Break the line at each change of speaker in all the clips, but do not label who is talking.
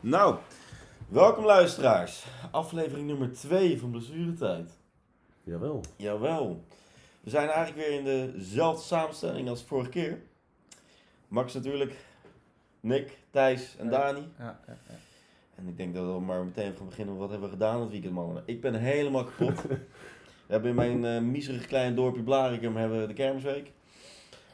Nou, welkom luisteraars. Aflevering nummer 2 van Blessuretijd.
Jawel.
Jawel. We zijn eigenlijk weer in dezelfde samenstelling als vorige keer. Max natuurlijk, Nick, Thijs en
Ja.
Dani.
Ja, ja, ja.
En ik denk dat we maar meteen gaan beginnen met wat hebben we gedaan dit weekend, mannen. Ik ben helemaal kapot. we hebben in mijn eh miserig klein dorpje Blarikum hebben we de kermisweek.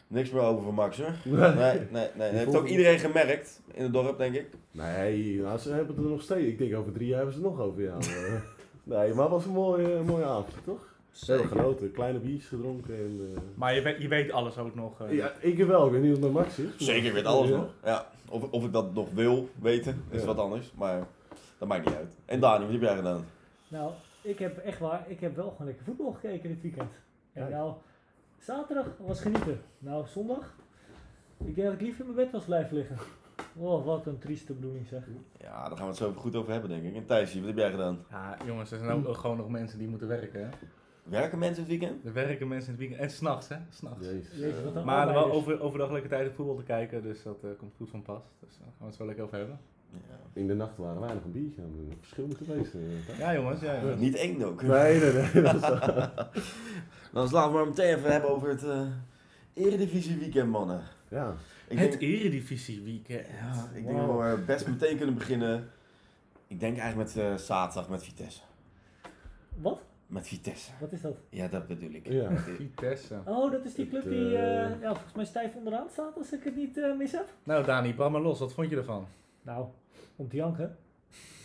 Niks meer over voor Max, hoor. Nee, nee, nee. Dat heeft ook iedereen gemerkt in het dorp, denk ik.
Nee, nou, ze hebben het er nog steeds. Ik denk over drie jaar hebben ze het nog over jou. eh. nee, maar het was een mooie, mooie avond, toch? Ze hebben genoten. Kleine biertjes gedronken en... eh,
Maar je weet, je weet alles ook nog. eh.
Ja, ik wel. Ik weet niet of het naar Max is.
Zeker, ik weet alles nog. Ja, of, of ik dat nog wil weten, is
Ja.
wat anders. Maar dat maakt niet uit. En Dani, wat heb jij gedaan?
Nou, ik heb echt waar, ik heb wel gewoon lekker voetbal gekeken dit weekend. En
Kijk.
nou, zaterdag was genieten. Nou, zondag, ik denk dat ik liever in mijn bed was blijven liggen. Oh, wat een trieste bedoeling zeg.
Ja, daar gaan we het zo goed over hebben, denk ik. En Thijs, wat heb jij gedaan?
Ja, jongens, er zijn ook ook gewoon nog mensen die moeten werken. Hè?
Werken mensen het weekend?
Er werken mensen in het weekend. En s'nachts, hè? S'nachts.
Jezus.
Jezus, wat een
Maar wel
arbeiders.
over, overdag lekker tijdens voetbal te kijken, dus dat eh, komt goed van pas. Dus daar gaan we het zo lekker over hebben.
Ja.
In de nacht waren wij nog een biertje aan het doen. Verschil moet geweest. eh, hè?
Ja, jongens, ja. jongens.
Niet één ook.
Nee, nee, nee. dat is-
Dan laten we maar meteen even hebben over het eh, Eredivisie weekend, mannen.
ja.
Ik
het
denk,
Eredivisie weekend.
ja, ik denk dat we best meteen kunnen beginnen. Ik denk eigenlijk met eh, zaterdag met Vitesse.
Wat?
Met Vitesse.
Wat is dat?
Ja, dat bedoel ik.
Ja.
Vitesse.
Oh, dat is die
Het,
club die
eh,
eh, ja, volgens mij stijf onderaan staat als ik het niet eh, mis heb.
Nou, Dani, brand maar los. Wat vond je ervan?
Nou, om te janken.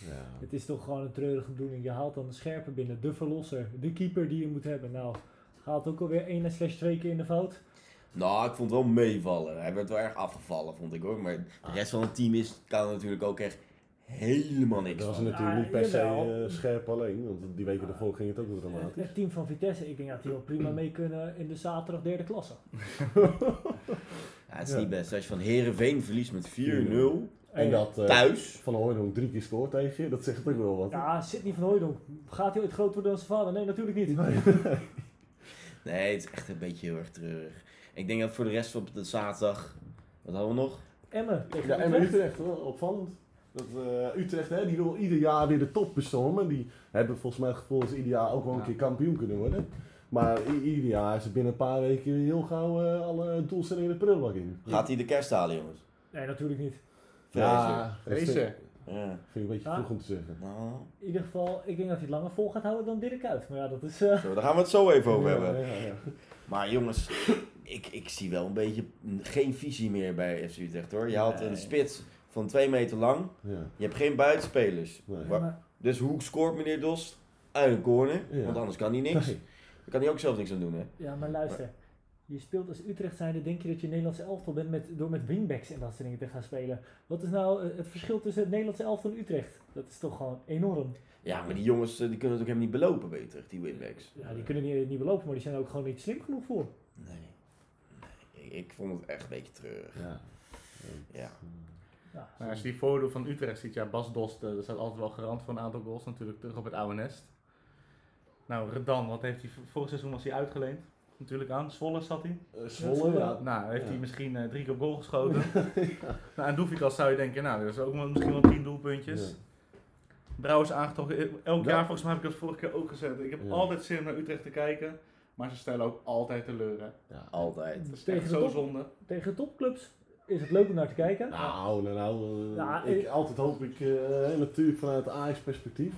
ja.
Het is toch gewoon een treurige bedoeling. Je haalt dan de scherpe binnen, de verlosser, de keeper die je moet hebben. Nou, haalt ook alweer 1 slash 2 keer in de fout.
Nou, ik vond het wel meevallen. Hij werd wel erg afgevallen, vond ik hoor. Maar de rest van het team is, kan er natuurlijk ook echt helemaal niks
Dat was
van.
natuurlijk niet per se
jawel.
eh, scherp alleen, want die weken daarvoor ging het ook nog
Het,
dramatisch.
het team van Vitesse, ik denk dat die wel prima mee kunnen in de zaterdag derde klasse.
Ja, het is
Ja.
niet best. Als je van Herenveen verliest met 4-0
En dat eh,
thuis.
Van Hooydonk drie keer scoort tegen je, dat zegt ook wel wat.
Ja, Sidney van Hooydonk. Gaat hij ooit groot worden dan zijn vader? Nee, natuurlijk niet.
Nee, het is echt een beetje heel erg treurig. Ik denk dat voor de rest van de zaterdag. Wat hadden we nog?
Emmen tegen
Ja, en
Utrecht.
Utrecht, wel opvallend. Dat, eh, Utrecht, hè, die wil ieder jaar weer de top bestormen. Die hebben volgens mij het gevoel dat ze ieder jaar ook wel een
Ja.
keer kampioen kunnen worden. Maar i- ieder jaar is het binnen een paar weken weer heel gauw eh, alle doelstellingen de prullenbak in.
Gaat hij de kerst halen, jongens?
Nee, natuurlijk niet.
Ja.
dat vind,
Vrezen.
ja.
vind ik een beetje
Ja.
vroeg om te zeggen.
Nou,
In ieder geval, ik denk dat hij het langer vol gaat houden dan Dirk Kuyt. Maar ja, dat is... eh,
zo, daar gaan we het zo even over
Ja,
hebben.
ja, ja.
Maar jongens, ik, ik zie wel een beetje geen visie meer bij FC Utrecht hoor. Je had een
Nee.
spits van 2 meter lang.
Ja,
Je hebt geen buitenspelers.
nee.
Wa-
maar-
Dus hoe scoort meneer Dost? Uit een corner,
Ja.
want anders kan hij niks.
Nee.
Daar kan hij ook zelf niks aan doen, hè?
ja, maar luister. Je speelt als Utrecht zijnde, denk je dat je Nederlandse elftal bent met, door met wingbacks en dat soort dingen te gaan spelen. Wat is nou eh, het verschil tussen het Nederlandse elftal en Utrecht? Dat is toch gewoon enorm.
Ja, maar die jongens eh, die kunnen het ook helemaal niet belopen beter, die winbacks.
Ja, die kunnen niet, niet belopen, maar die zijn er ook gewoon niet slim genoeg voor.
Nee. nee. Ik, ik vond het echt een beetje treurig.
Ja.
Ja.
Ja,
Nou, als je die voordeel van Utrecht ziet, ja, Bas Dost, eh, dat staat altijd wel garant voor een aantal goals. Natuurlijk terug op het oude nest. Nou, Redan, wat heeft hij, vorig seizoen was hij uitgeleend. Natuurlijk aan, Zwolle zat hij.
Eh, Zwolle, ja.
Nou, heeft hij
Ja.
misschien eh, drie keer op goal geschoten. Nou, aan Doefikas zou je denken, nou, dat is ook wel- misschien wel tien doelpuntjes.
Ja.
Brouwers aangetrokken. E-, Elk
Ja.
jaar, volgens mij heb ik dat vorige keer ook gezegd. Ik heb
Ja.
altijd zin om naar Utrecht te kijken. Maar ze stellen ook altijd teleur, hè.
Ja.
Altijd.
Dat is
Tegen
echt
de
zo
top-
zonde.
Tegen topclubs is het leuk om naar te kijken.
Nou, nou, nou. eh,
Ja,
ik,
ik-
altijd hoop ik, eh, natuurlijk vanuit Ajax perspectief.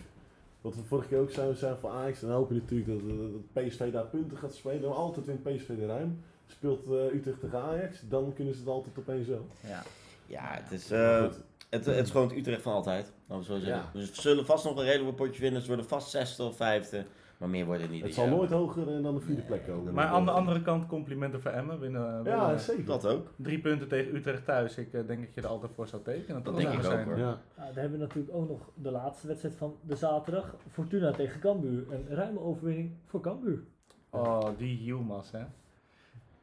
Wat we vorige keer ook zeiden, we zijn van Ajax. Dan hoop je natuurlijk dat, eh, dat, dat PSV daar punten gaat spelen. Maar altijd wint PSV de ruim. Speelt eh, Utrecht tegen Ajax, dan kunnen ze het altijd opeens wel.
Ja.
Ja, het is, eh,
Goed.
het, het is gewoon het Utrecht van altijd. Laten we zo zeggen.
Ja.
Dus ze zullen vast nog een redelijk potje winnen. Ze worden vast zesde of vijfde. Maar meer worden het niet.
het
dit
zal
jaar.
nooit hoger eh, dan de vierde plek komen. eh,
Maar aan de andere kant complimenten voor Emmen. Winnen, eh,
Ja,
winnen
zeker.
Dat ook.
drie punten tegen Utrecht thuis. Ik eh, denk dat je er altijd voor zou tekenen.
Dat
zou
denk ik
zijn.
ook, hoor.
Ja.
Ja, Nou, dan hebben we natuurlijk ook nog de laatste wedstrijd van de zaterdag. Fortuna tegen Cambuur. Een ruime overwinning voor Cambuur.
Oh, die Hielmas, hè. Ik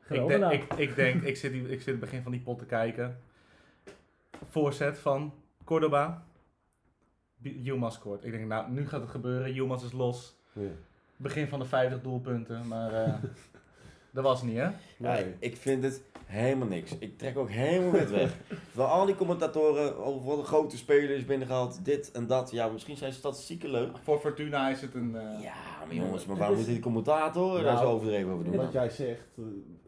Geweldig.
denk,
nou.
ik, ik, denk ik, zit, hier- ik zit het begin van die pot te kijken. Voorzet van Cordoba. Jumas scoort. Ik denk, nou, nu gaat het gebeuren. Jumas is los.
Ja.
Begin van de 50 doelpunten. Maar eh, dat was niet, hè?
Ja,
Nee.
ik- ik vind het Helemaal niks. Ik trek ook helemaal wit weg. Terwijl al die commentatoren over wat een grote speler is binnengehaald, dit en dat. Ja, misschien zijn statistieken leuk.
Voor Fortuna is het een... eh,
Ja, maar jongens, maar
Het
waarom
is-
moet die commentator daar
Nou,
zo overdreven over doen?
Wat jij zegt, eh,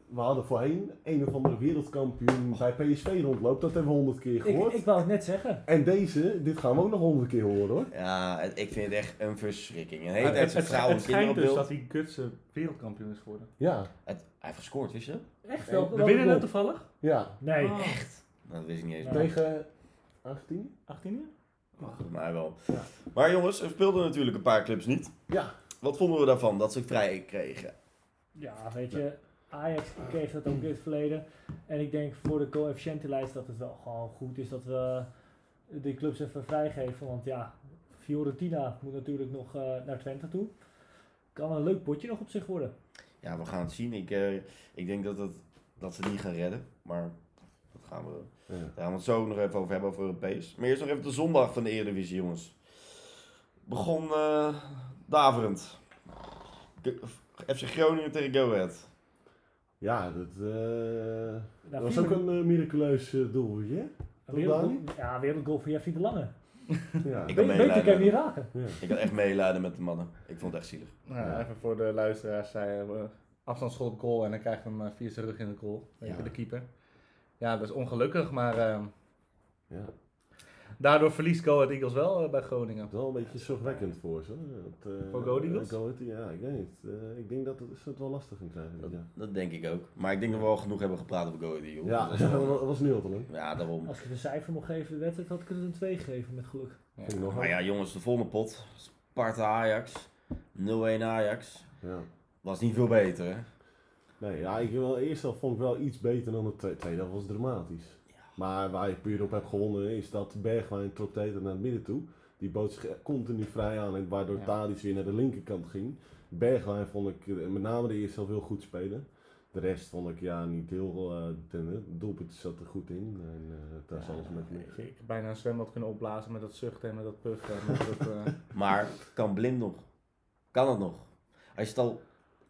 we hadden voorheen een of andere wereldkampioen bij PSV rondloopt. Dat hebben we honderd keer
Ik,
gehoord.
ik wou het net zeggen.
En deze, dit gaan we ook nog honderd keer horen hoor.
Ja, het- ik vind het echt een verschrikking. Een
Het,
hele tijd
het,
zijn
het,
vrouwen en kinderen
schijnt
op
dus
beeld.
dat die Gutsen wereldkampioen is geworden.
Ja,
Het- hij heeft gescoord, wist je? dat?
Echt
We
wel. wel
winnen het
een goal.
toevallig.
ja.
Nee.
Ah.
Nou, dat wist ik niet eens.
Ja.
meer.
Tegen 18?
18 jaar?
Volgens mij wel.
Ja.
Maar jongens, er speelden natuurlijk een paar clubs niet.
Ja,
Wat vonden we daarvan dat ze vrij kregen?
Ja, weet je, Ajax kreeg dat ook in het verleden. En ik denk voor de coëfficiëntenlijst dat het wel gewoon goed is dat we die clubs even vrijgeven. Want ja, Fiorentina moet natuurlijk nog eh, naar Twente toe. Kan een leuk potje nog op zich worden.
Ja, we gaan het zien. Ik, eh, ik denk dat, het, dat ze die gaan redden. Maar dat gaan we,
Ja.
daar gaan we het zo nog even over hebben, over Europees. Maar eerst nog even de zondag van de Eredivisie, jongens. Begon eh, daverend. G- FC Groningen tegen Go Ahead.
ja dat, eh, dat
Nou,
was
vier
ook een eh, miraculeus eh, doelpuntje. hè?
Een wereldgoal, ja, wereldgoal voor Jeffrey de Lange.
Ik- kan
Ja.
Be- beter
meeleiden.
kan je niet raken.
Ja.
Ik had echt meelijden met de mannen. Ik vond het echt zielig.
Nou, ja, even voor de luisteraars. Zij hebben afstandsschot op goal en dan krijgt hem eh, via zijn rug in de goal. Tegen
Ja.
de keeper. Ja, dat is ongelukkig, maar eh,
Ja.
daardoor verliest Go Ahead Eagles wel eh, bij Groningen.
Het is wel een beetje zorgwekkend voor ze. hè. Dat, eh,
Voor Go Ahead Eagles?
Go Ahead, ja, ik weet niet. Eh, ik denk dat het- ze het wel lastig gaan krijgen. dit jaar.
Dat denk ik ook. Maar ik denk dat we al genoeg hebben gepraat over Go Ahead Eagles.
Ja,
Dat
dat
is wel-
was nu al te lang.
ja, daarom.
Als ik het een cijfer mocht geven, de wedstrijd had ik het een 2 gegeven met geluk.
Ja.
Vind ik nog
Maar ja, jongens, de volgende pot. Sparta Ajax. 0-1 Ajax.
Ja.
Was niet veel beter, hè?
Nee, ja, ik wil eerst al vond ik wel iets beter dan de tweede. Tweede helft was dramatisch. Maar waar je puur op hebt gewonnen is dat Bergwijn trok de hele tijd naar het midden toe. Die bood zich continu vrij aan, en waardoor
Ja.
Tadic weer naar de linkerkant ging. Bergwijn vond ik eh, met name de eerste helft heel goed spelen. De rest vond ik ja, niet heel... eh ten, het doelpunt zat er goed in en eh, daar is
Ja,
alles met
Ik ik heb bijna een zwembad kunnen opblazen met dat zuchten en met dat puffen. En met dat, eh,
Maar kan blind nog? Kan het nog? Als je het al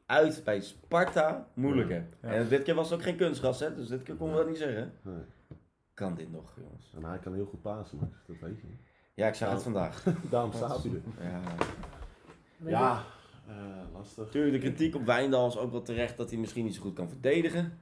uit bij Sparta moeilijk hebt.
Ja.
En dit keer was het ook geen kunstgras, hè? Dus dit keer kon we dat niet zeggen.
Nee.
Kan dit nog, jongens?
En hij kan heel goed pasen, Max, dat weet je.
Ja, ik zag het vandaag.
Daarom Nou, staat hij er.
Ja.
Weet je,
Ja, eh, lastig.
Natuurlijk, de kritiek op Wijndal is ook wel terecht dat hij misschien niet zo goed kan verdedigen.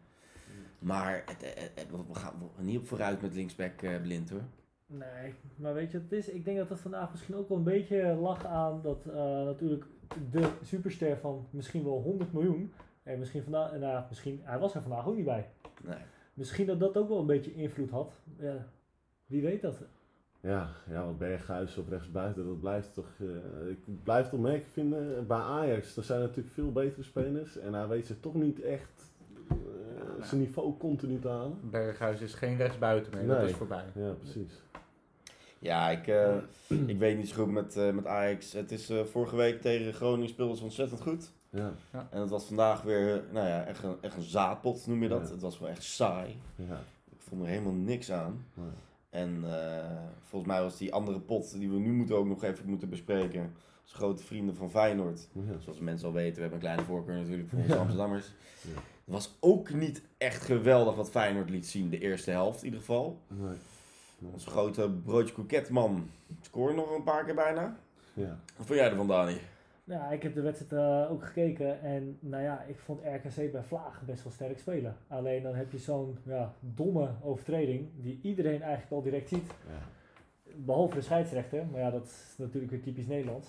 Maar het- het- het- we gaan niet op vooruit met linksback eh, blind, hoor.
Nee, maar weet je wat het is? Ik denk dat dat vandaag misschien ook wel een beetje lag aan dat eh, natuurlijk de superster van misschien wel 100 miljoen. En misschien vandaag, nou, misschien, hij was er vandaag ook niet bij.
Nee.
Misschien dat dat ook wel een beetje invloed had. Ja, wie weet dat?
Ja, ja, want Berghuis op rechtsbuiten, dat blijft toch... eh, ik blijf het opmerkelijk vinden, bij Ajax, er zijn natuurlijk veel betere spelers. En hij weet ze toch niet echt eh,
nou.
zijn niveau continu te halen.
Berghuis is geen rechtsbuiten meer, dat
Nee.
is voorbij.
Ja, precies.
Ja, ik, eh, ik weet niet zo goed met, eh, met Ajax. Het is eh, vorige week tegen Groningen speelden ze ontzettend goed.
Ja,
En het was vandaag weer, eh, nou ja, echt een, echt een zaadpot noem je dat.
Ja.
Het was wel echt saai.
ja.
Ik vond er helemaal niks aan.
Nee.
En eh, volgens mij was die andere pot die we nu moeten ook nog even moeten bespreken. Als grote vrienden van Feyenoord.
ja.
Zoals mensen al weten, we hebben een kleine voorkeur natuurlijk voor onze
Ja.
Amsterdammers.
Ja.
Het was ook niet echt geweldig wat Feyenoord liet zien. De eerste helft in ieder geval.
Nee. Nee.
Onze grote broodje koeketman scoorde nog een paar keer bijna.
Ja.
Wat vond jij ervan, Dani?
Nou, ik heb de wedstrijd eh, ook gekeken en nou ja, ik vond RKC bij Vlaag best wel sterk spelen. Alleen dan heb je zo'n ja, domme overtreding die iedereen eigenlijk al direct ziet.
Ja.
Behalve de scheidsrechter, maar ja, dat is natuurlijk weer typisch Nederlands.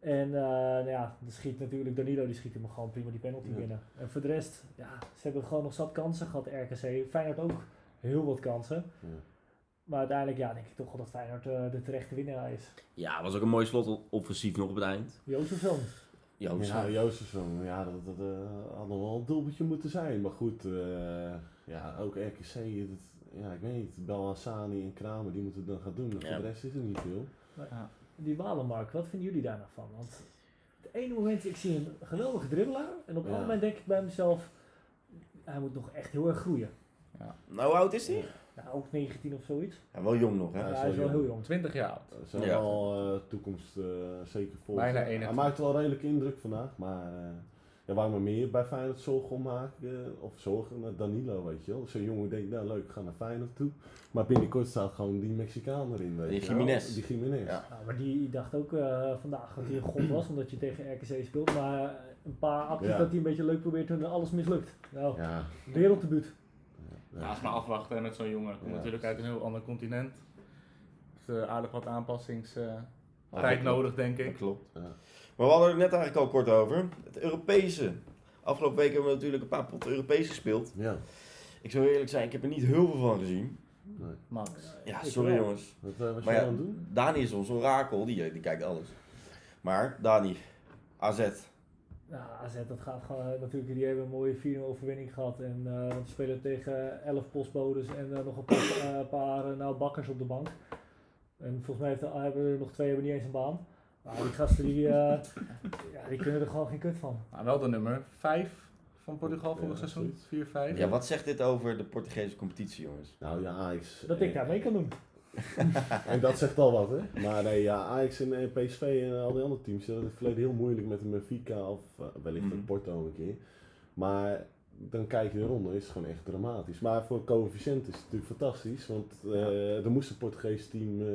En eh, nou ja, dan schiet natuurlijk Danilo, die schiet hem gewoon prima die penalty
Ja.
binnen. En voor de rest, ja, ze hebben gewoon nog zat kansen gehad, RKC. Feyenoord ook heel wat kansen.
Ja.
Maar uiteindelijk, ja, denk ik toch wel dat Feyenoord eh, de terechte winnaar is.
Ja, was ook een mooi slotoffensief nog op het eind.
Jozefzoon.
Joost.
Ja, Jozefson, ja, dat, dat eh, had nog wel een doelpuntje moeten zijn. Maar goed, eh, ja, ook RKC, dat, ja, ik weet niet, Belhassani en Kramer, die moeten het dan gaan doen. maar
Ja.
Voor de rest is er niet veel.
Die Walenmark, wat vinden jullie daar nou van? Want het ene moment, ik zie een geweldige dribbelaar. En op het
Ja.
andere moment denk ik bij mezelf, hij moet nog echt heel erg groeien.
Nou, hoe oud is hij?
Nou, ook 19 of zoiets.
Ja, wel jong nog, hè?
Ja,
Ja,
is
hij is
wel
wel heel
jong.
jong.
20 jaar oud.
Ze zijn
Ja.
wel eh, toekomst eh, zeker vol.
Bijna
Hij
21.
maakt wel redelijk indruk vandaag, maar eh, Er waren maar meer bij Feyenoord zorgen om maken. eh, Of zorgen naar Danilo, weet je wel. Zo'n jongen denkt, nou leuk, ik ga naar Feyenoord toe. Maar binnenkort staat gewoon die Mexicaan erin, weet
Die
je wel.
Jiménez.
Die Jiménez.
Ja.
Nou, maar die dacht ook eh, vandaag dat hij een god was, omdat je tegen RKC speelt. Maar een paar acties
Ja.
dat hij een beetje leuk probeert en alles mislukt. Nou,
Ja.
werelddebuut.
Ja.
Ja, is maar afwachten hè, met zo'n jongen. Komt
Ja.
natuurlijk uit een heel ander continent. Heeft eh, aardig wat aanpassingstijd
Ja, dat
tijd
klopt.
nodig, denk
Dat
ik.
klopt.
Ja.
Maar we hadden het net eigenlijk al kort over. Het Europese. Afgelopen week hebben we natuurlijk een paar potten Europees gespeeld.
Ja,
Ik zou eerlijk zijn, ik heb er niet heel veel van gezien.
nee.
Max.
Ja,
Ik
sorry
wel.
jongens.
Wat eh, was
Maar
je
ja,
aan het doen?
Dani is ons orakel, die, die kijkt alles. Maar, Dani, AZ.
Nou, AZ, dat gaat gewoon natuurlijk. Die hebben een mooie 4-0 overwinning gehad. En eh, want die spelen tegen 11 postbodes en eh, nog een paar, eh, paar eh, nou, bakkers op de bank. En volgens mij heeft de- hebben er nog twee hebben niet eens een baan. Maar die gasten die, eh, ja, die kunnen er gewoon geen kut van.
Maar wel de nummer 5 van Portugal vorig
Ja,
seizoen. 4-5.
Ja, wat zegt dit over de Portugese competitie, jongens?
Nou ja, Ajax.
Dat ik daar mee kan doen.
En dat zegt al wat, hè? Maar nee, ja, Ajax en eh, PSV en al die andere teams hadden het in het verleden heel moeilijk met de Benfica of eh, wellicht
Mhm.
een Porto een keer. Maar dan kijk je eronder, is het gewoon echt dramatisch. Maar voor coëfficiënt is het natuurlijk fantastisch, want eh er moest het Portugese team eh,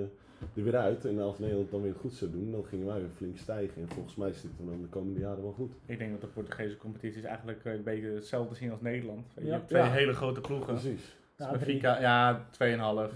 er weer uit. En als Nederland dan weer het goed zou doen, dan gingen wij weer flink stijgen. En volgens mij zit het dan de komende jaren wel goed.
Ik denk dat de Portugese competitie is eigenlijk eh, een beetje hetzelfde zien als Nederland. Je
Ja.
hebt twee
Ja.
hele grote ploegen.
Precies.
Dus
Nou, drie.
Benfica, ja, 2,5.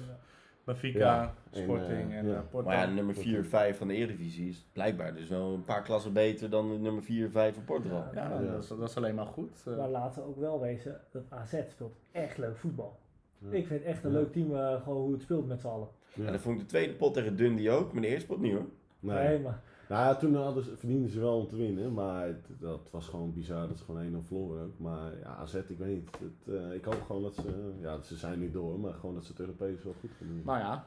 Ja.
Benfica,
En,
Sporting
eh,
en
ja.
eh, Porto.
Maar ja, nummer
dat
4 5 van de Eredivisie is blijkbaar dus wel een paar klassen beter dan de nummer 4 5 van Portugal.
Ja.
Ja,
Ja.
Dat, is, dat is alleen maar goed. Eh,
Maar laten we ook wel wezen, dat AZ speelt echt leuk voetbal.
Ja.
Ik vind echt een
Ja.
leuk team eh, gewoon hoe het speelt met z'n allen.
En
Ja.
dan vond ik de tweede pot tegen Dundee ook, maar de eerste pot niet hoor.
Nee,
Nee.
maar
Nou ja, toen hadden ze, verdienden ze wel om te winnen, maar het- dat was gewoon bizar. Dat ze gewoon 1-0 verloren ook. Maar ja, AZ, ik weet niet. Het, eh, ik hoop gewoon dat ze, eh, ja, ze zijn nu door, maar gewoon dat ze het Europees wel goed gaan doen.
Nou ja,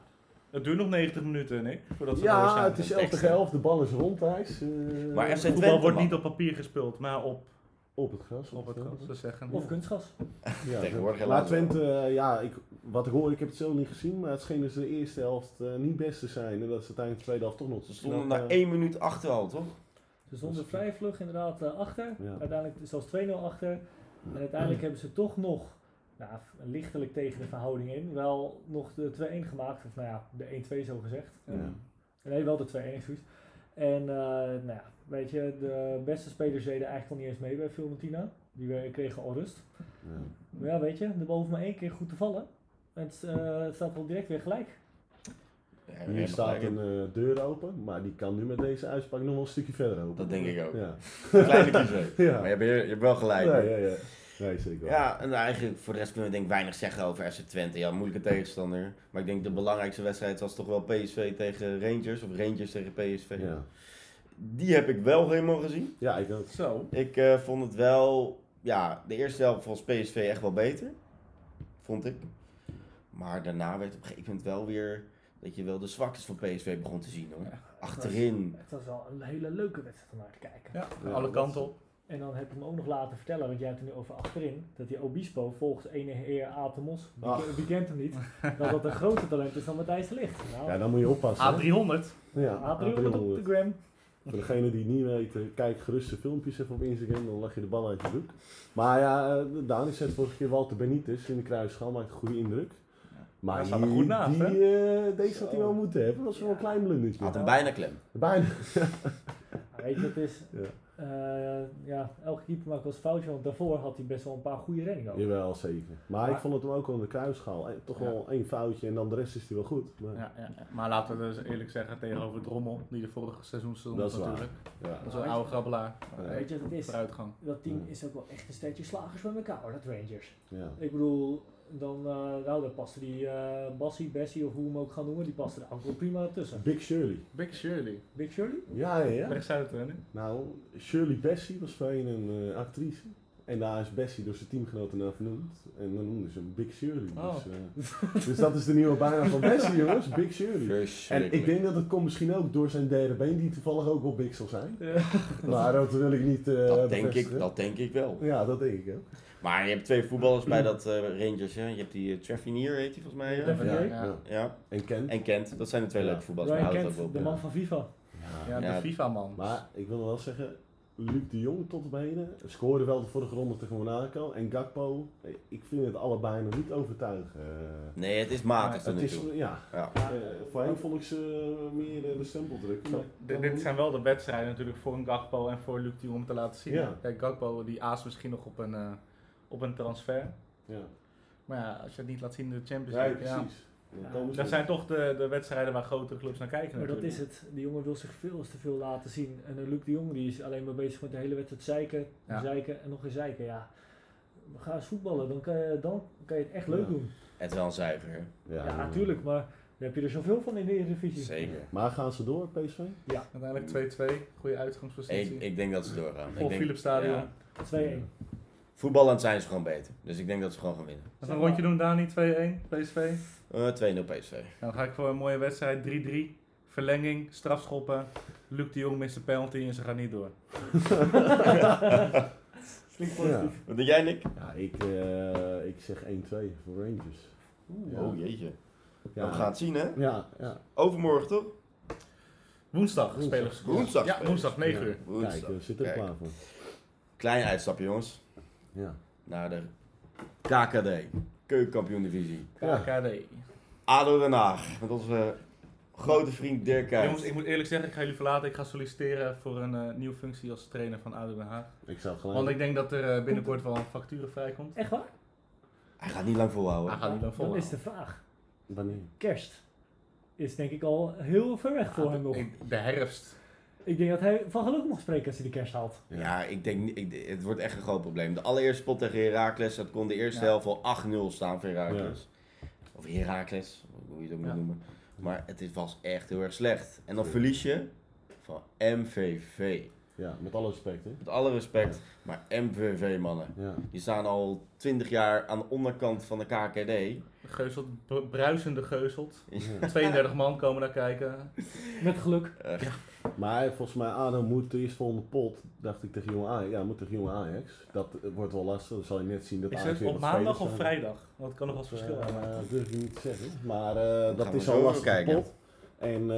het duurt nog 90 minuten, Nick, voordat ze door
ja,
zijn.
het is
En
11
teksten.
tegen 11, de bal is rond, Thijs. Eh,
Maar FC
Voetbal
Twente
wordt
man.
niet op papier gespeeld, maar op,
Op het gras.
op het gras, te zeggen.
of kunstgas.
Ja,
Tegenwoordig
dat- maar
helaas
Twente, eh, ja, ik, wat ik hoor, ik heb het zelf niet gezien, maar het scheen dus de eerste helft eh, niet best te zijn. En dat ze uiteindelijk de tweede helft toch nog eh,
Ze stonden na 1 minuut achter al, toch?
Ze stonden vrij vlug inderdaad eh, achter.
Ja.
Uiteindelijk zelfs 2-0 achter. En uiteindelijk hebben ze toch nog, nou, lichtelijk tegen de verhouding in, wel nog de 2-1 gemaakt. Of nou ja, de 1-2 zo gezegd.
Ja.
Nee, wel de 2-1 excuus. En eh, nou ja, weet je, de beste spelers deden eigenlijk al niet eens mee bij Fiorentina. Die we- kregen al rust.
Ja.
Maar ja, weet je, er boven maar één keer goed te vallen. En Het eh, het staat al direct weer gelijk.
Ja, we
Hier
hebben
staat
gelijk.
een eh, deur open, maar die kan nu met deze uitspraak nog wel een stukje verder open.
Dat denk ik ook.
Ja.
Kleine kiezer.
Ja.
Maar je hebt, je hebt wel gelijk.
ja,
hoor.
ja, ja. Nee, zeker wel.
Ja, en eigenlijk voor de rest kunnen we denk ik weinig zeggen over FC Twente. Ja, moeilijke tegenstander. Maar ik denk de belangrijkste wedstrijd was toch wel PSV tegen Rangers. Of Rangers tegen PSV.
Ja.
Die heb ik wel helemaal gezien.
Ja, ik ook.
Zo,
Ik eh, vond het wel... Ja, de eerste helft was PSV echt wel beter. Vond ik. Maar daarna werd op een gegeven moment wel weer... Dat je wel de zwaktes van PSV begon te zien hoor. Achterin.
Het was wel een hele leuke wedstrijd om naar te kijken.
ja,
Ja,
alle
dat-
kanten op.
En dan heb ik hem ook nog laten vertellen, want jij hebt het nu over achterin, dat die Obispo volgens ene heer Atemos, die,
Ach.
die kent hem niet, dat dat een groter talent is dan Matthijs de Ligt. Nou,
Ja, dan moet je oppassen. hè.
A300.
Ja,
Adrie op de gram.
Voor degene die het niet weten, kijk gerust de filmpjes even op Instagram, dan lag je de bal uit je broek. Maar ja, eh, Dani zet vorige keer Walter Benitez in de kruisschaal, maakt een goede indruk. Maar
Hij
die,
staat er goed naast,
die,
hè?
eh, deze had hij wel moeten hebben, dat was wel een klein
Had
blundertje.
hem bijna klem.
Bijna.
Ja, weet je, het is,
Ja.
eh, ja, elke keeper maakt wel eens foutje, want daarvoor had hij best wel een paar goede reddingen ook.
Jawel, zeker. Maar ik
Maar-
vond het hem ook wel in de kruisschaal. Eh, Toch
Ja.
wel één foutje en dan de rest is hij wel goed. Maar, ja.
Ja, ja, ja. Maar laten we dus eerlijk zeggen tegenover Drommel, die de vorige seizoen stond
Dat is waar.
natuurlijk.
Ja.
Dat is een oude grabbelaar.
Ja.
Weet je, dat is,
Vooruitgang.
dat team
Ja.
is ook wel echt een steentje slagers bij elkaar, hoor, dat Rangers.
Ja.
Ik bedoel, dan, eh, nou, daar paste die eh Bassie, Bessie of hoe we hem ook gaan noemen, die paste er ook wel prima tussen.
Big Shirley.
Big Shirley.
Big Shirley?
Ja, ja, ja.
Rechtsuit, hè? nu?
Nou, Shirley Bessie was voorheen een eh, actrice. En daar is Bessie door zijn teamgenoten naar vernoemd. En dan noemden ze hem Big Shirley.
Oh.
Dus, eh, dus dat is de nieuwe bijnaam van Bessie, jongens. Big Shirley. En ik denk dat het komt misschien ook door zijn derde been, die toevallig ook wel big zal zijn. Maar dat wil ik niet eh
dat, denk ik,
bevestigen.
dat denk ik wel.
Ja, dat denk ik ook.
Maar je hebt twee voetballers bij dat eh, Rangers. Hè? Je hebt die uh, Trevinier, heet hij volgens mij. hè?
Trevor
Ja,
J.
ja.
Ja,
En Ken.
en Kent. Dat zijn de twee
Ja.
leuke voetballers.
Brian
maar houdt het ook
Kent,
op.
de man van FIFA.
Ja.
Ja,
Ja.
de FIFA-man.
Maar ik wil wel zeggen, Luc de Jong tot op heden. Scoorde wel de vorige ronde tegen Monaco. En Gakpo, eh, ik vind het allebei nog niet overtuigen. Eh,
Nee, het is matig tot
het
nu
is,
toe.
ja,
Ja.
eh, voorheen vond ik ze eh, meer eh, de stempel drukken. maar-
D- dit zijn wel de wedstrijden natuurlijk voor een Gakpo en voor Luc de Jong om te laten zien.
Ja.
Kijk, Gakpo die aast misschien nog op een, eh, op een transfer.
Ja,
Maar ja, als je het niet laat zien in de Champions
ja
League. ja.
precies. Dan
Ja,
komen ze-
Dat zijn toch de, de wedstrijden waar grotere clubs naar kijken.
Maar dat
natuurlijk.
is het. Die jongen wil zich veel te veel laten zien. En eh, Luc de Jong die is alleen maar bezig met de hele wedstrijd zeiken,
Ja.
zeiken en nog eens zeiken. Ja, ga eens voetballen, dan kan je, dan kan je het echt leuk
Ja.
doen.
Het is wel een zuiger.
Ja,
ja.
natuurlijk, maar daar heb je er zoveel van in de Eredivisie.
Zeker.
Maar gaan ze door, PSV?
Uiteindelijk 2-2. Goede uitgangspositie.
Ik, ik denk dat ze doorgaan.
Vol
Ik denk,
Philips Stadion.
ja.
2-1.
Voetballend zijn ze gewoon beter. Dus ik denk dat ze gewoon gaan winnen.
Laten we een rondje doen, Dani. 2-1. PSV.
Eh 2-0 PSV.
Ja, dan ga ik voor een mooie wedstrijd. 3-3. Verlenging, strafschoppen. Luc de Jong mist de penalty en ze gaan niet door.
Klinkt
Ja,
positief.
Wat denk jij, Nick?
ja ik, eh, ik zeg 1-2 voor Rangers.
Oeh.
Ja.
Oh jeetje.
Ja,
We gaan het zien, hè?
Ja, ja.
Overmorgen toch?
Woensdag
Woensdag.
spelen ze.
Woensdag
Ja,
spelen
woensdag 9
Ja.
uur.
Woensdag.
Kijk, eh. we zitten er
Kijk.
klaar voor.
Klein uitstapje, jongens.
Ja.
Naar de KKD. Keukenkampioen divisie.
Ja.
KKD.
ADO Den Haag. Met onze grote vriend Dirk
Jongens,
Kuyt.
ik moet eerlijk zeggen, ik ga jullie verlaten. Ik ga solliciteren voor een eh, nieuwe functie als trainer van ADO Den Haag.
Ik zou het
Want
gelijk.
ik denk dat er eh, binnenkort wel een factuur vrijkomt.
Echt waar?
Hij gaat niet lang volhouden.
Hij gaat niet lang
Dan
volhouden.
is de vraag.
Wanneer?
Kerst is denk ik al heel ver weg
Ah,
voor hem nog.
Ik- De herfst.
Ik denk dat hij van geluk mag spreken als hij de kerst haalt.
Ja, ik denk niet- ik, het wordt echt een groot probleem. De allereerste pot tegen Heracles, dat kon de eerste
Ja.
helft al 8-0 staan voor Heracles. Of Heracles, hoe je het ook moet
Ja.
noemen. Maar het is- was echt heel erg slecht. En dan
Ja.
verlies je van MVV.
Ja, met alle respect, hè?
Met alle respect, maar MVV mannen.
Ja.
Die staan al 20 jaar aan de onderkant van de KKD.
Geuzelt, br- bruisende geuzelt.
Ja.
32 man komen daar kijken.
Met geluk.
Maar volgens mij, Adam moet eerst volgende pot, dacht ik tegen jonge Ajax. Ja, moet tegen jonge Ajax. Dat eh, wordt wel lastig, dan zal je net zien dat
Is
Ajax
het
weer
op
wat
maandag
spelers
of
zijn.
vrijdag? Want het kan nog wel eens verschil
Eh,
hebben.
Dat durf ik niet te zeggen. Maar eh, dat
gaan we
is
zo
al
even
lastig
kijken.
pot. En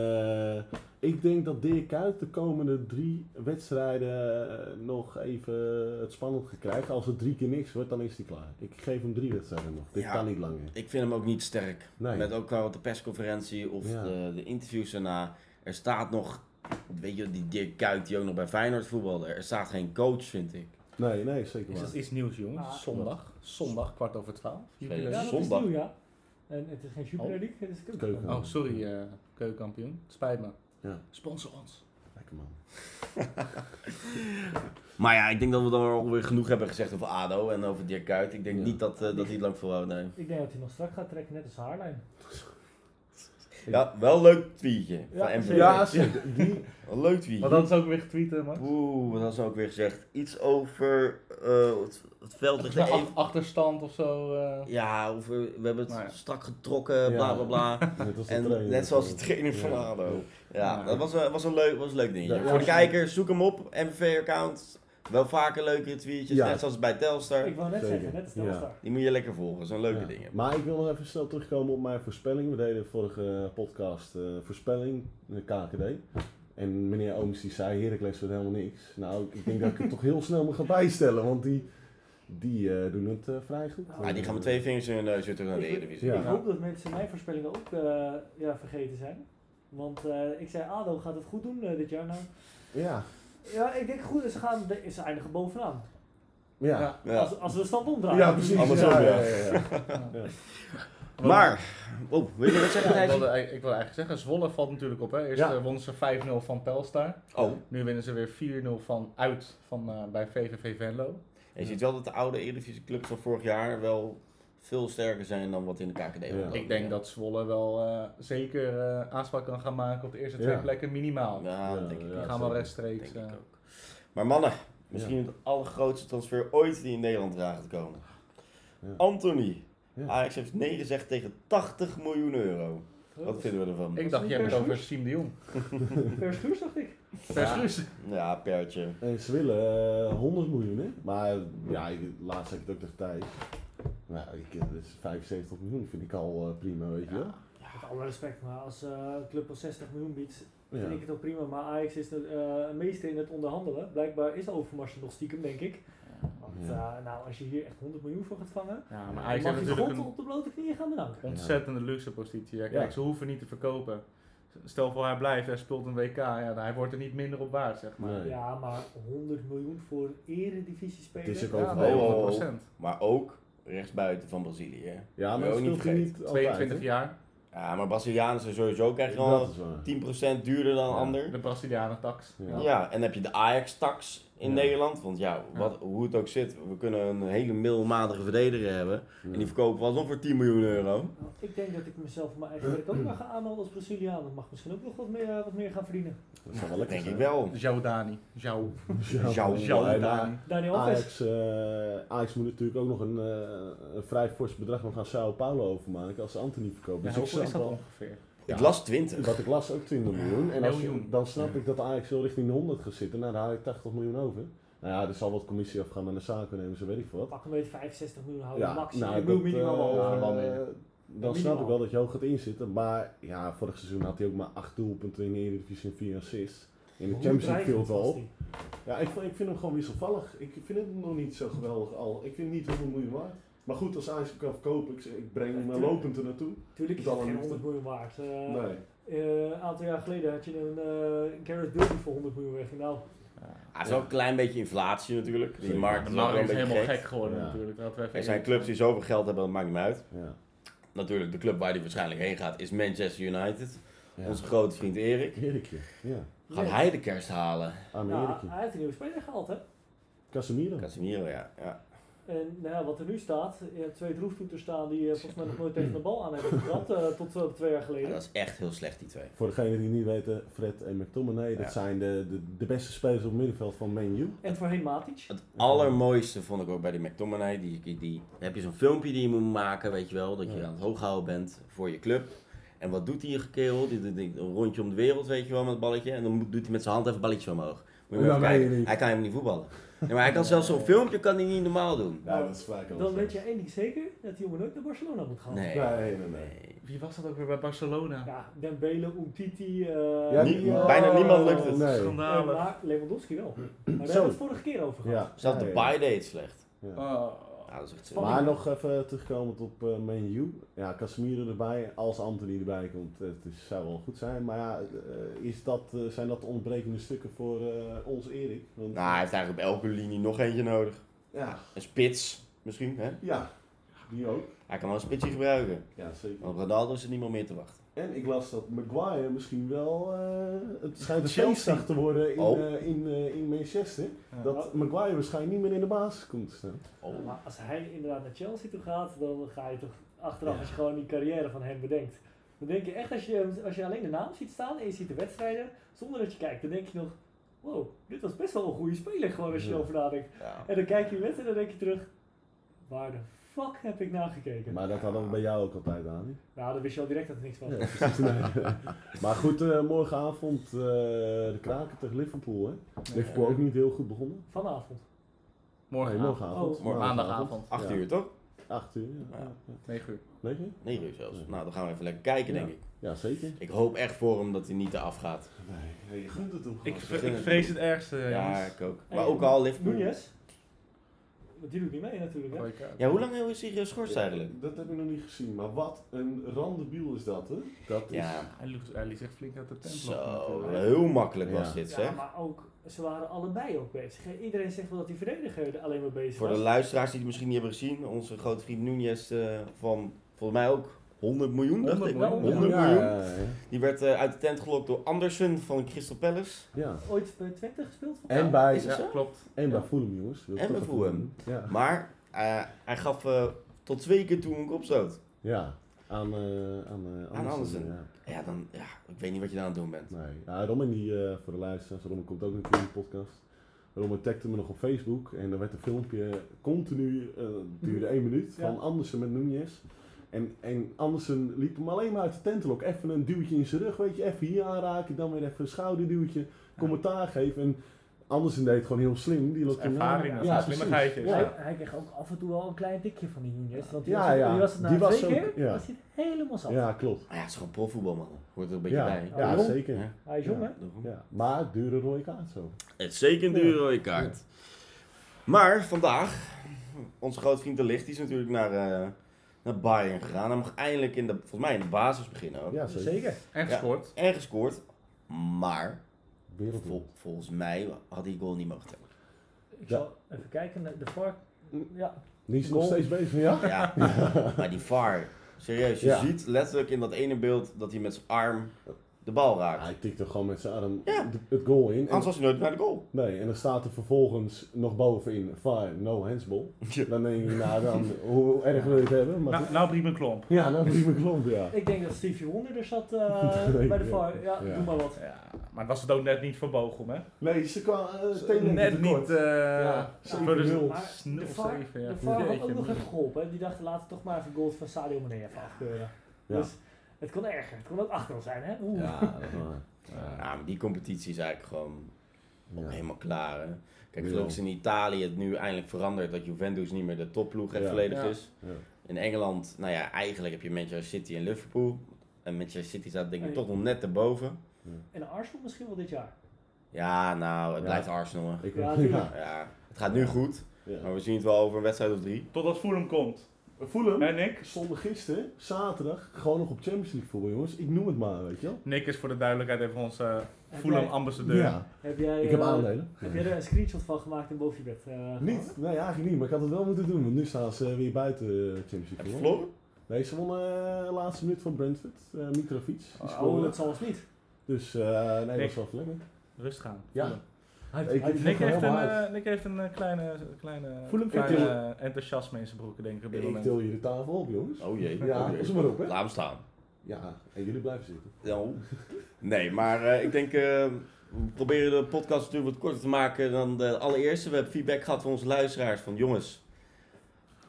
eh, ik denk dat Dirk Kuyt de komende drie wedstrijden eh, nog even het spannend gaat krijgen. Als het drie keer niks wordt, dan is hij klaar. Ik geef hem drie wedstrijden nog. Dit
Ja.
kan niet langer.
Ik vind hem ook niet sterk.
Nee.
Met ook qua op de persconferentie of
Ja.
de, de interviews daarna. Er staat nog, weet je, die Dirk Kuyt die ook nog bij Feyenoord voetbalde. Er staat geen coach, vind ik.
Nee, nee, zeker
Is
waar.
dat iets nieuws, jongens?
Ah.
zondag. Zondag, kwart over twaalf.
Spelen.
Ja, dat
Zondag.
is nieuw, ja. En het is geen Super League, het is keuken.
Oh. Keuken.
Oh, sorry, eh keukenkampioen. Het Spijt me.
Ja.
Sponsor ons.
Lekker man.
Maar ja, ik denk dat we dan alweer genoeg hebben gezegd over ADO en over Dirk Kuyt. Ik denk
Ja.
niet dat, eh, dat hij het lang volhoudt, nee.
Ik denk dat hij nog strak gaat trekken, net als Haarlijn.
Ja, wel een leuk tweetje
Ja,
van MVV.
zeker.
Ja, zeker. Die,
Een leuk tweetje.
Maar dat is ook weer getweeten, man.
Oeh, wat had ze ook weer gezegd? Iets over eh, het, het veld ligt er
e-
even...
achterstand of zo. eh.
Ja, of, eh, we hebben het
Nou ja.
strak getrokken,
Ja.
bla bla bla.
net als de
En
trainer.
net zoals de trainer van
Ja.
ADO.
Ja.
Ja, dat was, een- was, een leuk, was een leuk dingetje.
Ja, ja,
Voor de
ja.
kijker, zoek hem op. MVV-account. Wel vaker leukere tweetjes,
Ja.
net zoals bij Telstar.
Ik wou net
Zeker,
zeggen, net als
ja.
Telstar.
Die moet je lekker volgen, zijn leuke
Ja.
dingen.
Maar ik wil nog even snel terugkomen op mijn voorspelling. We deden vorige podcast eh, voorspelling, de KKD. En meneer Ooms die zei, Heracles wordt helemaal niks. Nou, ik denk dat ik het toch heel snel moet gaan bijstellen, want die, die eh, doen het eh, vrij goed.
Ah,
Ah, die gaan met twee vingers in hun neus weer terug naar de Eredivisie.
Ja.
Ik hoop dat mensen mijn voorspellingen ook eh, ja, vergeten zijn. Want eh, ik zei, ADO gaat het goed doen eh, dit jaar nou.
Ja,
Ja, ik denk goed, ze, gaan de, ze eindigen bovenaan.
ja.
Ja.
Ja.
Als, als we de stand
Ja,
omdraaien.
precies.
Andersom,
ja,
ja.
ja, ja, ja.
Maar, oh, wil je wat zeggen,
Ik
Thijs?
wilde, ik wilde eigenlijk zeggen, Zwolle valt natuurlijk op. Hè. Eerst
Ja.
eh, wonnen ze 5-0 van Telstar.
Oh,
Nu winnen ze weer 4-0 van uit van, eh, bij VVV Venlo.
je ziet wel dat de oude Eredivisie-clubs van vorig jaar wel veel sterker zijn dan wat in de KKD
Oh, Ja.
was.
Ik denk dat Zwolle wel eh, zeker eh, aanspraak kan gaan maken op de eerste
Ja.
twee plekken minimaal.
Ja, dat denk ik
Ja,
Die
ook.
gaan wel
zeker.
Denk
rechtstreeks.
ik
eh,
ook. Maar mannen, misschien het allergrootste transfer ooit die in Nederland eraan gaat komen.
Ja.
Anthony.
Ja.
Ajax heeft nee gezegd tegen 80 miljoen euro. Wat vinden we ervan?
ik dacht, je hebt het over Siem de Jong.
Per schuur, dacht ik.
Per Schuurs.
Ja, pertje.
En ze willen eh, 100 miljoen, hè? Maar ja, ik- laatst heb ik het ook tegen Thijs. Nou, ik, eh, dat is 75 miljoen vind ik al eh, prima, weet je wel.
Met alle respect, maar als eh, een club al 60 miljoen biedt, vind
Ja.
ik het ook prima. Maar Ajax is de eh, meester in het onderhandelen. Blijkbaar is Overmars er nog stiekem, denk ik. Want
Ja.
eh, nou, als je hier echt 100 miljoen voor gaat vangen,
Ja, maar
dan
Ajax heeft
mag je
natuurlijk
God
een
op de blote knieën gaan bedanken.
ontzettende luxe positie. Ja, kijk,
Ja.
ze hoeven niet te verkopen. Stel voor hij blijft, hij speelt een WK, ja, dan- hij wordt er niet minder op waard, zeg maar.
Nee.
Ja, maar 100 miljoen voor een eredivisie
Het is
spelen.
ook
Ja,
overal.
nee,
nee,
Oh, oh, oh.
100%.
Maar ook rechtsbuiten van Brazilië. hè.
Ja, maar
Wil
dat
je ook niet
speelt hij
vergeten.
niet altijd,
22
hè?
jaar,
Ja, maar Brazilianen zijn sowieso krijg je al
Dat is waar.
10% duurder dan
Ja.
ander.
de Brazilianen tax.
Ja.
Ja. en dan heb je de Ajax-tax in
Ja.
Nederland. Want ja, wat, hoe het ook zit, we kunnen een hele middelmatige verdediger hebben. En die verkopen we alsnog voor 10 miljoen euro.
Nou, Ik denk dat ik mezelf maar eigen werk ook maar ga aanmelden als Braziliaan. Dat mag misschien ook nog wat meer, eh, wat meer gaan verdienen.
Dat zou wel
Dat
lekker
denk ik
zijn.
wel.
Jaudani. Jou.
Zou-
Ja,
zou-
maar-
Jaudani.
Daniel Alves.
Ajax, eh, Ajax moet natuurlijk ook nog een, eh, een vrij fors bedrag nog aan Sao Paulo overmaken als ze Anthony verkopen.
Ja,
Dus ik
hoeveel
snap
is dat
wel,
ongeveer?
Ik las 20.
wat ik las, ook 20 miljoen. En als,
Miljoen.
dan snap ik dat Ajax wel richting de 100 gaat zitten. Nou, daar haal ik 80 miljoen over. Nou ja, er zal wat commissie afgaan aan de zaken nemen, zo weet ik veel wat.
Pak een beetje 65 miljoen houden. max.
nou,
ik wil
dat, eh,
minimaal over.
Dan snap ik
Minimaal.
wel dat je hoog gaat inzitten. Maar ja, vorig seizoen had hij ook maar 8 doelpunten in de Eredivisie en 4 assists. In de
Hoe
Champions League
dreigend
viel het al.
was die?
Ja, ik, vond- ik vind hem gewoon wisselvallig. Ik vind hem nog niet zo geweldig al. Ik vind hem niet 100 miljoen waard. Maar goed, als Ajax hem kan verkopen, ik, zeg, ik breng hem eh, lopend er naartoe.
Tuurlijk is
Dat
het geen
een
100 miljoen waard. Eh, eh, Een
Nee.
aantal jaar geleden had je een eh Gareth Bale die voor 100 miljoen wegging. Nou,
Ah, het is wel een klein beetje inflatie natuurlijk. Die
Zeker.
markt
De
is, ook wel
markt
een
is
beetje
helemaal
gek.
gek geworden
Ja.
natuurlijk. Laten we even
Er zijn
eerlijk
clubs die zoveel geld hebben, dat maakt niet uit.
Ja.
Natuurlijk, de club waar hij waarschijnlijk heen gaat is Manchester United.
ja.
Onze grote vriend Erik.
Erikje. Ja.
Gaat
nee.
hij de kerst halen?
Arme
Ja, eh,
Erikje.
hij heeft een nieuwe speler gehaald, hè?
Casemiro.
Casemiro, ja. ja.
En nou, ja, wat er nu staat, je hebt twee droeftoeters staan die eh, volgens mij nog nooit tegen de bal aan hebben getrapt, eh, tot eh, twee jaar
Ja,
geleden.
Dat is echt heel slecht, die twee.
Voor degenen die het niet weten, Fred en McTominay,
Ja.
dat zijn de, de, de beste spelers op het middenveld van Man U.
En voorheen Matic.
Het allermooiste vond ik ook bij die McTominay. Die, die, die- dan heb je zo'n filmpje die je moet maken, weet je wel. Dat je
Ja.
aan het hooghouden bent voor je club. En wat doet die kerel? Die doet een rondje om de wereld, weet je wel, met het balletje. En dan moet- doet hij met zijn hand even het balletje omhoog. Moet je maar
Oh, Ja,
even
maar
kijken.
je niet.
Hij kan helemaal niet voetballen. Nee, maar hij kan zelfs zo'n filmpje kan hij niet normaal doen.
Ja, dat
is vaak
Nou, Dan weet je één ding zeker, dat die jongen nooit naar Barcelona moet
Oh,
gaan.
Nee.
Nee, nee, nee.
Nee.
zijn. Wie was dat ook weer bij Barcelona?
Ja, Dembele, Umtiti, eh
Ja,
Nie-
die- oh,
bijna niemand lukt het.
Nee.
eh,
Schandalig.
maar Lewandowski wel. Maar daar hebben
Zo.
we het vorige keer over gehad.
Ja.
Zelfs
Ja,
de
ja.
bye deed slecht.
Ja.
Oh.
Nou, dat is echt zo.
Spannend.
Maar nog even terugkomend op eh Man U. Ja, Casemiro erbij, als Anthony erbij komt, eh, het is, zou wel goed zijn. Maar ja, eh, is dat, eh, zijn dat de ontbrekende stukken voor eh, ons Erik? Want,
Nou, hij heeft eigenlijk op elke linie nog eentje nodig.
ja,
Een spits, misschien. Hè?
ja, die ook.
Hij kan wel een spitsje gebruiken.
Ja, zeker.
Want op Ronaldo zit niemand meer te wachten.
En ik las dat Maguire misschien wel, eh, het schijnt een
Chelsea.
feestdag te worden in,
Oh.
eh, in, eh, in Manchester, dat Maguire waarschijnlijk niet meer in de basis komt te staan.
Oh.
Maar als hij inderdaad naar Chelsea toe gaat, dan ga je toch achteraf
Ja.
als je gewoon die carrière van hem bedenkt. Dan denk je echt, als je, als je alleen de naam ziet staan en je ziet de wedstrijden, zonder dat je kijkt, dan denk je nog, wow, dit was best wel een goede speler gewoon als je
Ja.
erover nadenkt.
Ja.
En dan kijk je met en dan denk je terug, waar de fuck heb ik nagekeken?
Maar dat hadden we bij jou ook altijd aan. hè?
Nou, dan wist je al direct dat er niks was.
Ja, precies. Nee. maar goed, eh, morgenavond eh, de kraken tegen Liverpool. Hè? Liverpool ook niet heel goed begonnen.
Vanavond.
Nee,
Morgen
morgenavond.
Oh.
Maandagavond.
8 uur toch?
8 uur, ja.
Ja.
ja.
9 uur.
Weet je?
9 uur zelfs. Nou, dan gaan we even lekker kijken, denk
Mhm. Ja.
ik.
Ja, zeker.
Ik hoop echt voor hem dat hij niet eraf gaat.
Nee, je gunt het toch?
Ik,
vre-
ik vrees het ergste,
ja,
jongens.
ik ook.
En
Maar ook al Liverpool.
Nunes? Want die doet niet mee natuurlijk, hè?
Rode kaart.
Ja, hoe lang is hij geschorst eigenlijk?
Dat heb ik nog niet gezien, maar wat een randebiel is dat, hè? Dat is...
Ja,
Hij liet, hij liet zich flink uit de tent lopen
zo.
natuurlijk.
Heel makkelijk was
Ja.
dit,
Ja,
zeg.
maar ook, ze waren allebei ook bezig. hè. Iedereen zegt wel dat die verdediger er alleen maar bezig
Voor de
was.
luisteraars die het misschien niet hebben gezien, onze grote vriend Nunez eh, van volgens mij ook 100 miljoen, dacht
100
ik.
miljoen.
100
ja,
miljoen.
Ja, ja.
Die werd eh, uit de tent gelokt door Andersen van Crystal Palace.
Ja.
Ooit bij Twente gespeeld?
En bij,
Is het zo?
Ja, klopt.
en bij Fulham, jongens. Wil ik
En
toch
bij
even
Fulham.
noemen. Ja.
Maar eh, hij gaf eh, tot twee keer toen een kopstoot.
ja. Aan, eh aan, eh Andersen,
Andersen.
Ja.
Ja, dan, ja, ik weet niet wat je daar aan het doen bent.
Nee. Ja, Roman die, eh, voor de luisteraars, Roman komt ook natuurlijk in de podcast. Roman tagde me nog op Facebook en er werd een filmpje continu, eh, het duurde één minuut,
Mhm. Ja.
van Andersen met Nunez. En, en Andersen liep hem alleen maar uit de tentlok. Even een duwtje in zijn rug, weet je, even hier aanraken, dan weer even een schouderduwtje, commentaar geven. En Andersen deed gewoon heel slim. Die
Dat
loopt
is
in-
ervaring, dat is
Ja,
een
precies.
slimmigheidje.
Ja,
Ja.
Hij kreeg ook af en toe wel een klein tikje van die Nunes. Want die
Ja,
was,
ja.
die was het na
Die was
twee
ook-
keer
ja.
was hij het helemaal zat.
Ja, klopt.
Maar ja, het is gewoon profvoetbal, man. Hoort er een beetje
Ja,
bij.
Oh,
ja
jong.
zeker.
Ja.
Hij is jong, hè?
Daarom.
Ja. Maar dure rode kaart zo.
Het is zeker een dure rode kaart. Maar vandaag, onze grote vriend De Ligt, die is natuurlijk naar, eh, naar Bayern gegaan. Hij mag eindelijk in de, volgens mij in de basis beginnen ook.
Ja, zeker.
Zeker.
En
Ja.
gescoord.
En gescoord. Maar
Wereldvol.
vol- volgens mij had die goal niet mogen tellen.
Ik
Ja. Mm.
zal even kijken naar de VAR. Ja,
Die is nog
Goal.
steeds bezig, ja?
Ja, maar die VAR. Serieus, je
Ja.
ziet letterlijk in dat ene beeld dat hij met zijn arm de bal raakt.
Hij tikt er gewoon met zijn arm
Ja.
de- het goal in. En,
Anders was hij nooit naar de goal.
nee, en dan staat er vervolgens nog bovenin, fire, no handsball.
Ja.
Dan denk je, nou dan, hoe erg wil je het hebben? Maar
Nou, nou Briemen Klomp.
Ja, nou is mijn klomp, ja.
ik denk dat Stevie Wonder er zat eh, bij de VAR. Ja,
Ja.
doe maar wat.
Ja, maar was het ook net niet voor Bochum, hè?
Nee, ze eh, kwamen
net niet. eh ja,
zeven
voor
nul.
de
Maar de VAR,
0-7. Ja.
de VAR had
Jeetje,
ook nog
man.
even geholpen. hè. Die dachten laten we toch maar even goals van Sadio Mane even afkeuren.
Ja.
Dus het kon erger. Het kon ook 8 zijn, hè? Oeh.
Ja, dat is waar.
Ja, maar die competitie is eigenlijk gewoon
Ja.
helemaal klaar. Hè? Kijk,
Ja.
gelukkig is in Italië het nu eindelijk veranderd dat Juventus niet meer de topploeg echt
Ja.
volledig
Ja.
is.
Ja.
In Engeland, nou ja, eigenlijk heb je Manchester City en Liverpool. En Manchester City staat denk ik
Nee.
toch nog net erboven.
En Arsenal misschien wel dit jaar.
Ja, nou, het
Ja.
blijft Arsenal. hè.
Ik
Ja,
ja, Oh.
tuurlijk.
ja.
Ja, het gaat nu goed, maar we zien het wel over een wedstrijd of drie.
Totdat Fulham komt.
We voelen hem.
En Nick?
Zondag gisteren, zaterdag, gewoon nog op Champions League voetbal, jongens. Ik noem het maar, weet je wel.
Nick is voor de duidelijkheid even onze eh,
Heb
Fulham
jij-
ambassadeur.
Heb jij,
Ik heb
eh,
aandelen.
Heb jij er een screenshot van gemaakt en boven je bed? eh,
Niet? Nee, eigenlijk niet. Maar ik had het wel moeten doen, want nu staan ze weer buiten eh, Champions
Heb
League
je
voetbal.
verloren?
Nee, ze wonnen eh, de laatste minuut van Brentford. eh Mitrovic, die
gehangen?
scoorde.
Oh, dat zal ons niet.
Dus eh nee, dat
Nick.
was wel verlengd.
Rustig aan.
Ja.
Fulham.
Hij
Ik-
hij-
ik-
Nick,
Gewoon
heeft een,
helemaal
eh, Nick heeft een eh, kleine, kleine,
Fulham
kleine
vindt-
eh, enthousiasme in zijn broeken, denk ik, op dit
Ik
moment.
til je de tafel op, jongens.
Oh jee.
Ja,
Oh, jee.
pas maar op, hè.
Laat hem staan.
Ja, en jullie blijven zitten.
Nou, Nee, maar eh, ik denk, eh, we proberen de podcast natuurlijk wat korter te maken dan de allereerste. We hebben feedback gehad van onze luisteraars van jongens,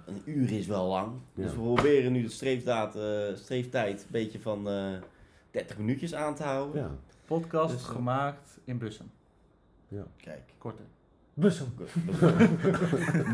een uur is wel lang.
Ja.
Dus we proberen nu de streefdaad, eh, streeftijd een beetje van eh 30 minuutjes aan te houden.
Ja.
Podcast
Dus, eh,
gemaakt in Bussen.
Kijk.
Korter.
Bussum.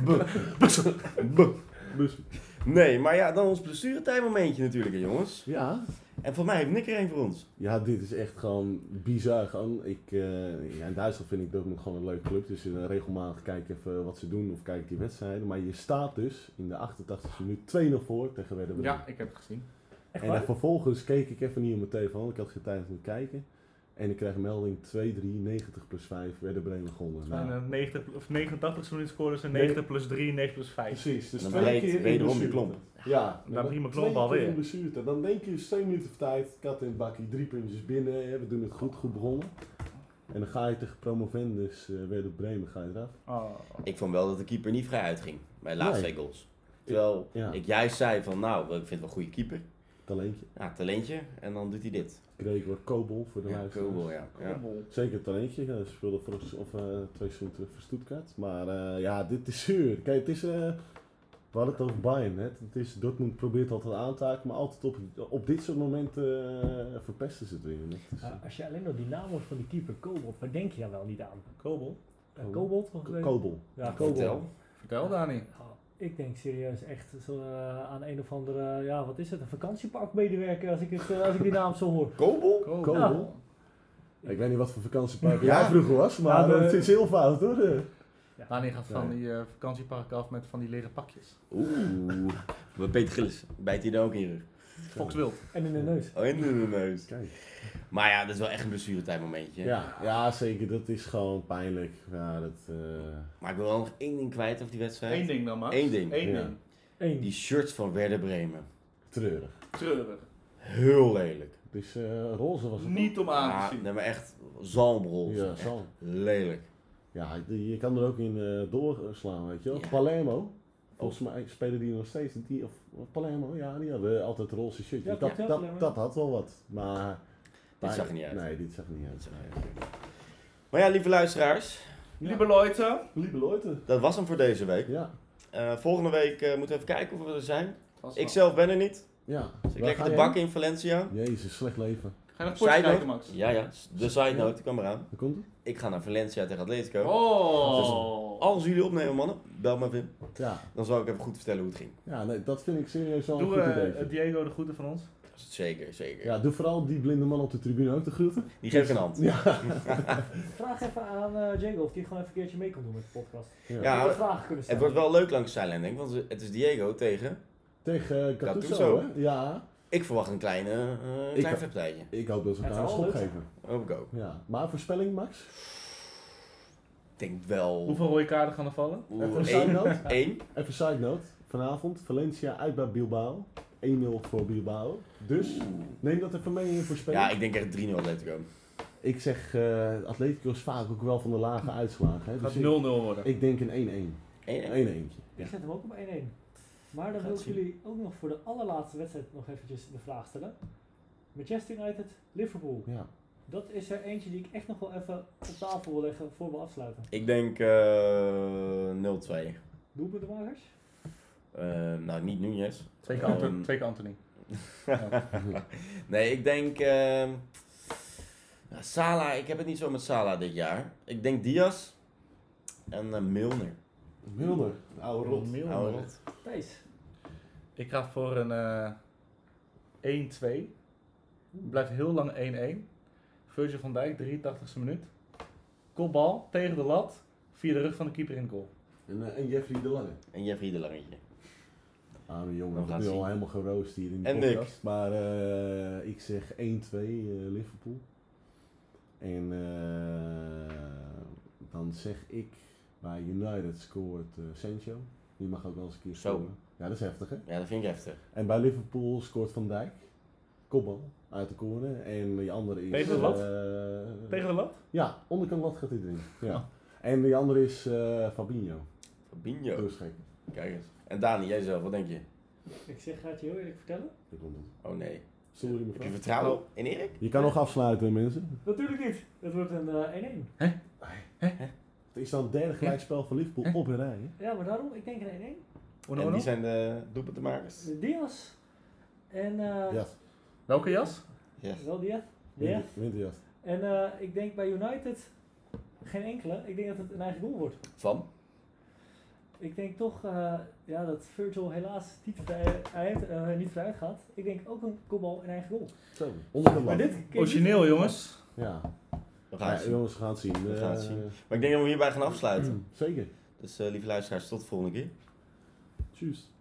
B- b- b-
Dus,
Nee, maar ja, dan ons blessuretijdmomentje natuurlijk, hè, jongens.
ja.
En voor mij heeft Nick er één voor ons.
Ja, dit is echt gewoon bizar. Gewoon, ik, eh, ja, in Duitsland vind ik Dortmund gewoon een leuke club. Dus eh, regelmatig kijk ik even wat ze doen of kijk ik die wedstrijden. Maar je staat dus in de 88e minuut 2-0 voor tegen Werder Bremen.
Ja, ik heb het gezien.
Echt
En
waar?
dan vervolgens keek ik even niet op mijn telefoon. Ik had geen tijd om te kijken. En ik kreeg een melding 2-3, 90 plus 5, Werder Bremen gewonnen. Nou,
En, eh, 90, pl- of 89 minuten scoren ze
Nee.
90 plus 3, 90 plus 5.
Precies, dus
Dan
twee
breekt
keer in
wederom die
blessure.
klomp.
Ja,
Nou, prima
twee
klomp
keer
alweer.
in blessure. Dan denk je, dus twee minuten voor tijd, kat in het bakkie, drie puntjes binnen, hè, we doen het goed, goed begonnen. En dan ga je tegen promovendus eh Werder Bremen, ga je eraf.
Oh.
Ik vond wel dat de keeper niet vrij uitging bij de laatste
Nee.
twee goals. Terwijl
Ja.
ik juist zei van, nou, ik vind het wel een goede keeper.
Talentje.
Ja, talentje. En dan doet hij dit.
Gregor Kobol voor de
Ja,
luisteraars.
Kobel, ja. ja.
Zeker talentje, hij speelde voor ons, of, eh, twee seizoenen terug voor Stuttgart. Maar eh, ja, dit is zuur. Kijk, het is... eh, we hadden het over Bayern, hè. Het is, Dortmund probeert altijd aan te haken, maar altijd op, op dit soort momenten eh, verpesten ze het weer. Dat is, eh,
Maar als je alleen nog die naam hoort van die keeper Kobold, waar denk je dan wel niet aan?
Kobel.
Eh, Kobold? of-
Ko- Kobol.
Ja, Kobold.
Vertel.
Vertel, Dani.
Oh, ik denk serieus echt zo, eh, aan een of andere, ja wat is het, een vakantiepark medewerker als ik, het, eh, als ik die naam zo hoor.
Kobel?
Kobel.
Kobel. Ik weet niet wat voor vakantiepark
Ja.
jij vroeger was, maar
Ja, de-
het is heel fout hoor.
Dani gaat van die eh, vakantiepark af met van die leren pakjes.
Oeh. Maar Peter Gillis, bijt hij dan ook in je rug?
Fox Wild.
En in de neus.
Oh, in de neus.
Kijk.
Maar ja, dat is wel echt een blessuretijdmomentje.
Ja, ja, zeker. Dat is gewoon pijnlijk. Ja, dat, eh,
Maar ik wil wel nog één ding kwijt over die wedstrijd.
Eén ding dan, Max.
Eén ding.
Eén
Ja.
ding.
Eén.
Die shirts van Werder Bremen.
treurig.
Treurig.
Heel lelijk.
Dus eh roze was het.
Niet om aan te
Ja,
zien.
nee, maar echt zalmrol.
Ja, zo.
Lelijk.
Ja, je je kan er ook in eh, doorslaan, weet je wel.
Ja.
Palermo. Volgens mij spelen die nog steeds. Die, of Palermo, ja, die hadden altijd roze shirtjes. dat,
Ja, klopt, ja,
dat,
Palermo.
dat had wel wat. Maar.
Dit zag er niet uit.
Nee, dit zag er niet uit.
Maar ja, lieve luisteraars,
Lieve Leute,
Lieve Leute.
dat was hem voor deze week.
Ja.
Eh, volgende week eh, moeten we even kijken of we er zijn.
Vast wel.
Ik zelf ben er niet.
ja.
Dus ik
Waar
lekker
ga
de
jij?
bak in Valencia.
Jezus, slecht leven.
Ga je nog
Side
potje kijken,
note?
Max?
Ja, ja. De side note, die kwam eraan.
Waar komt het?
Ik ga naar Valencia tegen Atletico.
Oh.
Als jullie opnemen, mannen, bel maar Wim.
Ja,
Dan zal ik even goed vertellen hoe het ging.
ja nee, dat vind ik serieus al een
Doe
goed idee.
eh, Diego de groeten van ons.
Zeker, zeker.
Ja, doe vooral die blinde man op de tribune ook de groeten.
Die geeft een hand.
Vraag even aan eh Diego of die gewoon even een keertje mee kon doen met de podcast.
Ja,
Ja, vragen kunnen
Het
stellen.
wordt wel leuk langs Silent Link, want het is Diego tegen...
Tegen uh, Gattuso,
Gattuso.
hè? Ja,
Ik verwacht een kleine, eh, een
Ik
klein
ook.
vechtpartijtje.
ik hoop dat ze
Het
elkaar een
zal wel
schop
leuk
geven.
Hoop ik ook.
Ja, maar voorspelling Max?
Ik denk wel...
Hoeveel rode kaarten gaan er vallen?
Even een side
Eén.
note.
Eén.
Even side note. Vanavond Valencia uit bij Bilbao. 1-0 voor Bilbao. Dus neem dat even mee in je voorspelling.
Ja, ik denk echt 3-0 Atletico.
Ik zeg, eh Atletico is vaak ook wel van de lage uitslagen. Hè?
Het gaat
Dus
0-0
ik,
worden.
ik denk een 1-1.
1-1.
1-1.
Ik zet hem ook op 1-1. Maar dan
Gaat
wil ik
zien.
jullie ook nog voor de allerlaatste wedstrijd nog eventjes de vraag stellen. Manchester United, Liverpool.
Ja.
Dat is er eentje die ik echt nog wel even op tafel wil leggen voor we afsluiten.
Ik denk eh 0-2.
Doelpuntenmakers?
Eh, nou, niet Nunez.
Twee keer Anto-
Ehm.
twee keer Anthony.
Nee, ik denk... ehm nou, Salah, ik heb het niet zo met Salah dit jaar. Ik denk Diaz en eh, Milner.
Milner. Oude rot.
Milner.
Oude Oh, rot.
Thijs.
Ik ga voor een eh 1-2. Het Blijft heel lang 1-1. Virgil van Dijk, 83ste minuut. Kopbal tegen de lat. Via de rug van de keeper in goal.
En, eh, en Jeffrey de Lange.
En Jeffrey de Langetje.
Ah,
We
jongen, we
gaan
is al
zien.
helemaal geroost hier in de
En
podcast. Maar eh, ik zeg 1-2 eh, Liverpool. En eh, dan zeg ik bij United scoort eh, Sancho. Die mag ook wel eens een keer
Zo.
scoren. Ja, dat is heftig hè.
Ja, dat vind ik heftig.
En bij Liverpool scoort Van Dijk. Kopbal uit de corner. En die andere is...
Tegen de lat?
eh,
Tegen de lat?
Ja, onderkant lat gaat hij erin. Ja. En die andere is eh Fabinho.
Fabinho.
Doorschrik.
Kijk eens. En Dani, jij zelf, wat denk je?
Ik zeg, gaat je heel eerlijk vertellen?
Ik vond hem.
Oh nee.
Sorry
Heb je
mevrouw.
vertrouwen in Erik?
Je kan nog afsluiten mensen.
Natuurlijk niet. Het wordt een eh, 1-1.
Het is dan het derde gelijkspel van Liverpool op een rij. hè?
Ja, maar daarom, ik denk een 1-1.
Ono,
En
ono?
die zijn de doelpuntenmakers.
De Diaz. En, eh
Ja.
Welke jas?
Ja.
wel Diaz. Diaz.
Winter- Winterjas.
En eh, ik denk bij United geen enkele. Ik denk dat het een eigen doel wordt.
Van?
Ik denk toch eh, ja, dat Virgil helaas niet, vrij, hij heeft, eh, niet vooruit gaat. Ik denk ook een kopbal en eigen goal.
Zo. Onderkant
Maar
lat.
dit keer
Origineel, jongens.
Ja.
We gaan
ja,
het zien.
jongens, we gaan het zien.
We gaan het
Eh,
zien. Maar ik denk dat we hierbij gaan afsluiten.
Zeker.
Dus eh, lieve luisteraars, tot de volgende keer.
Tjus.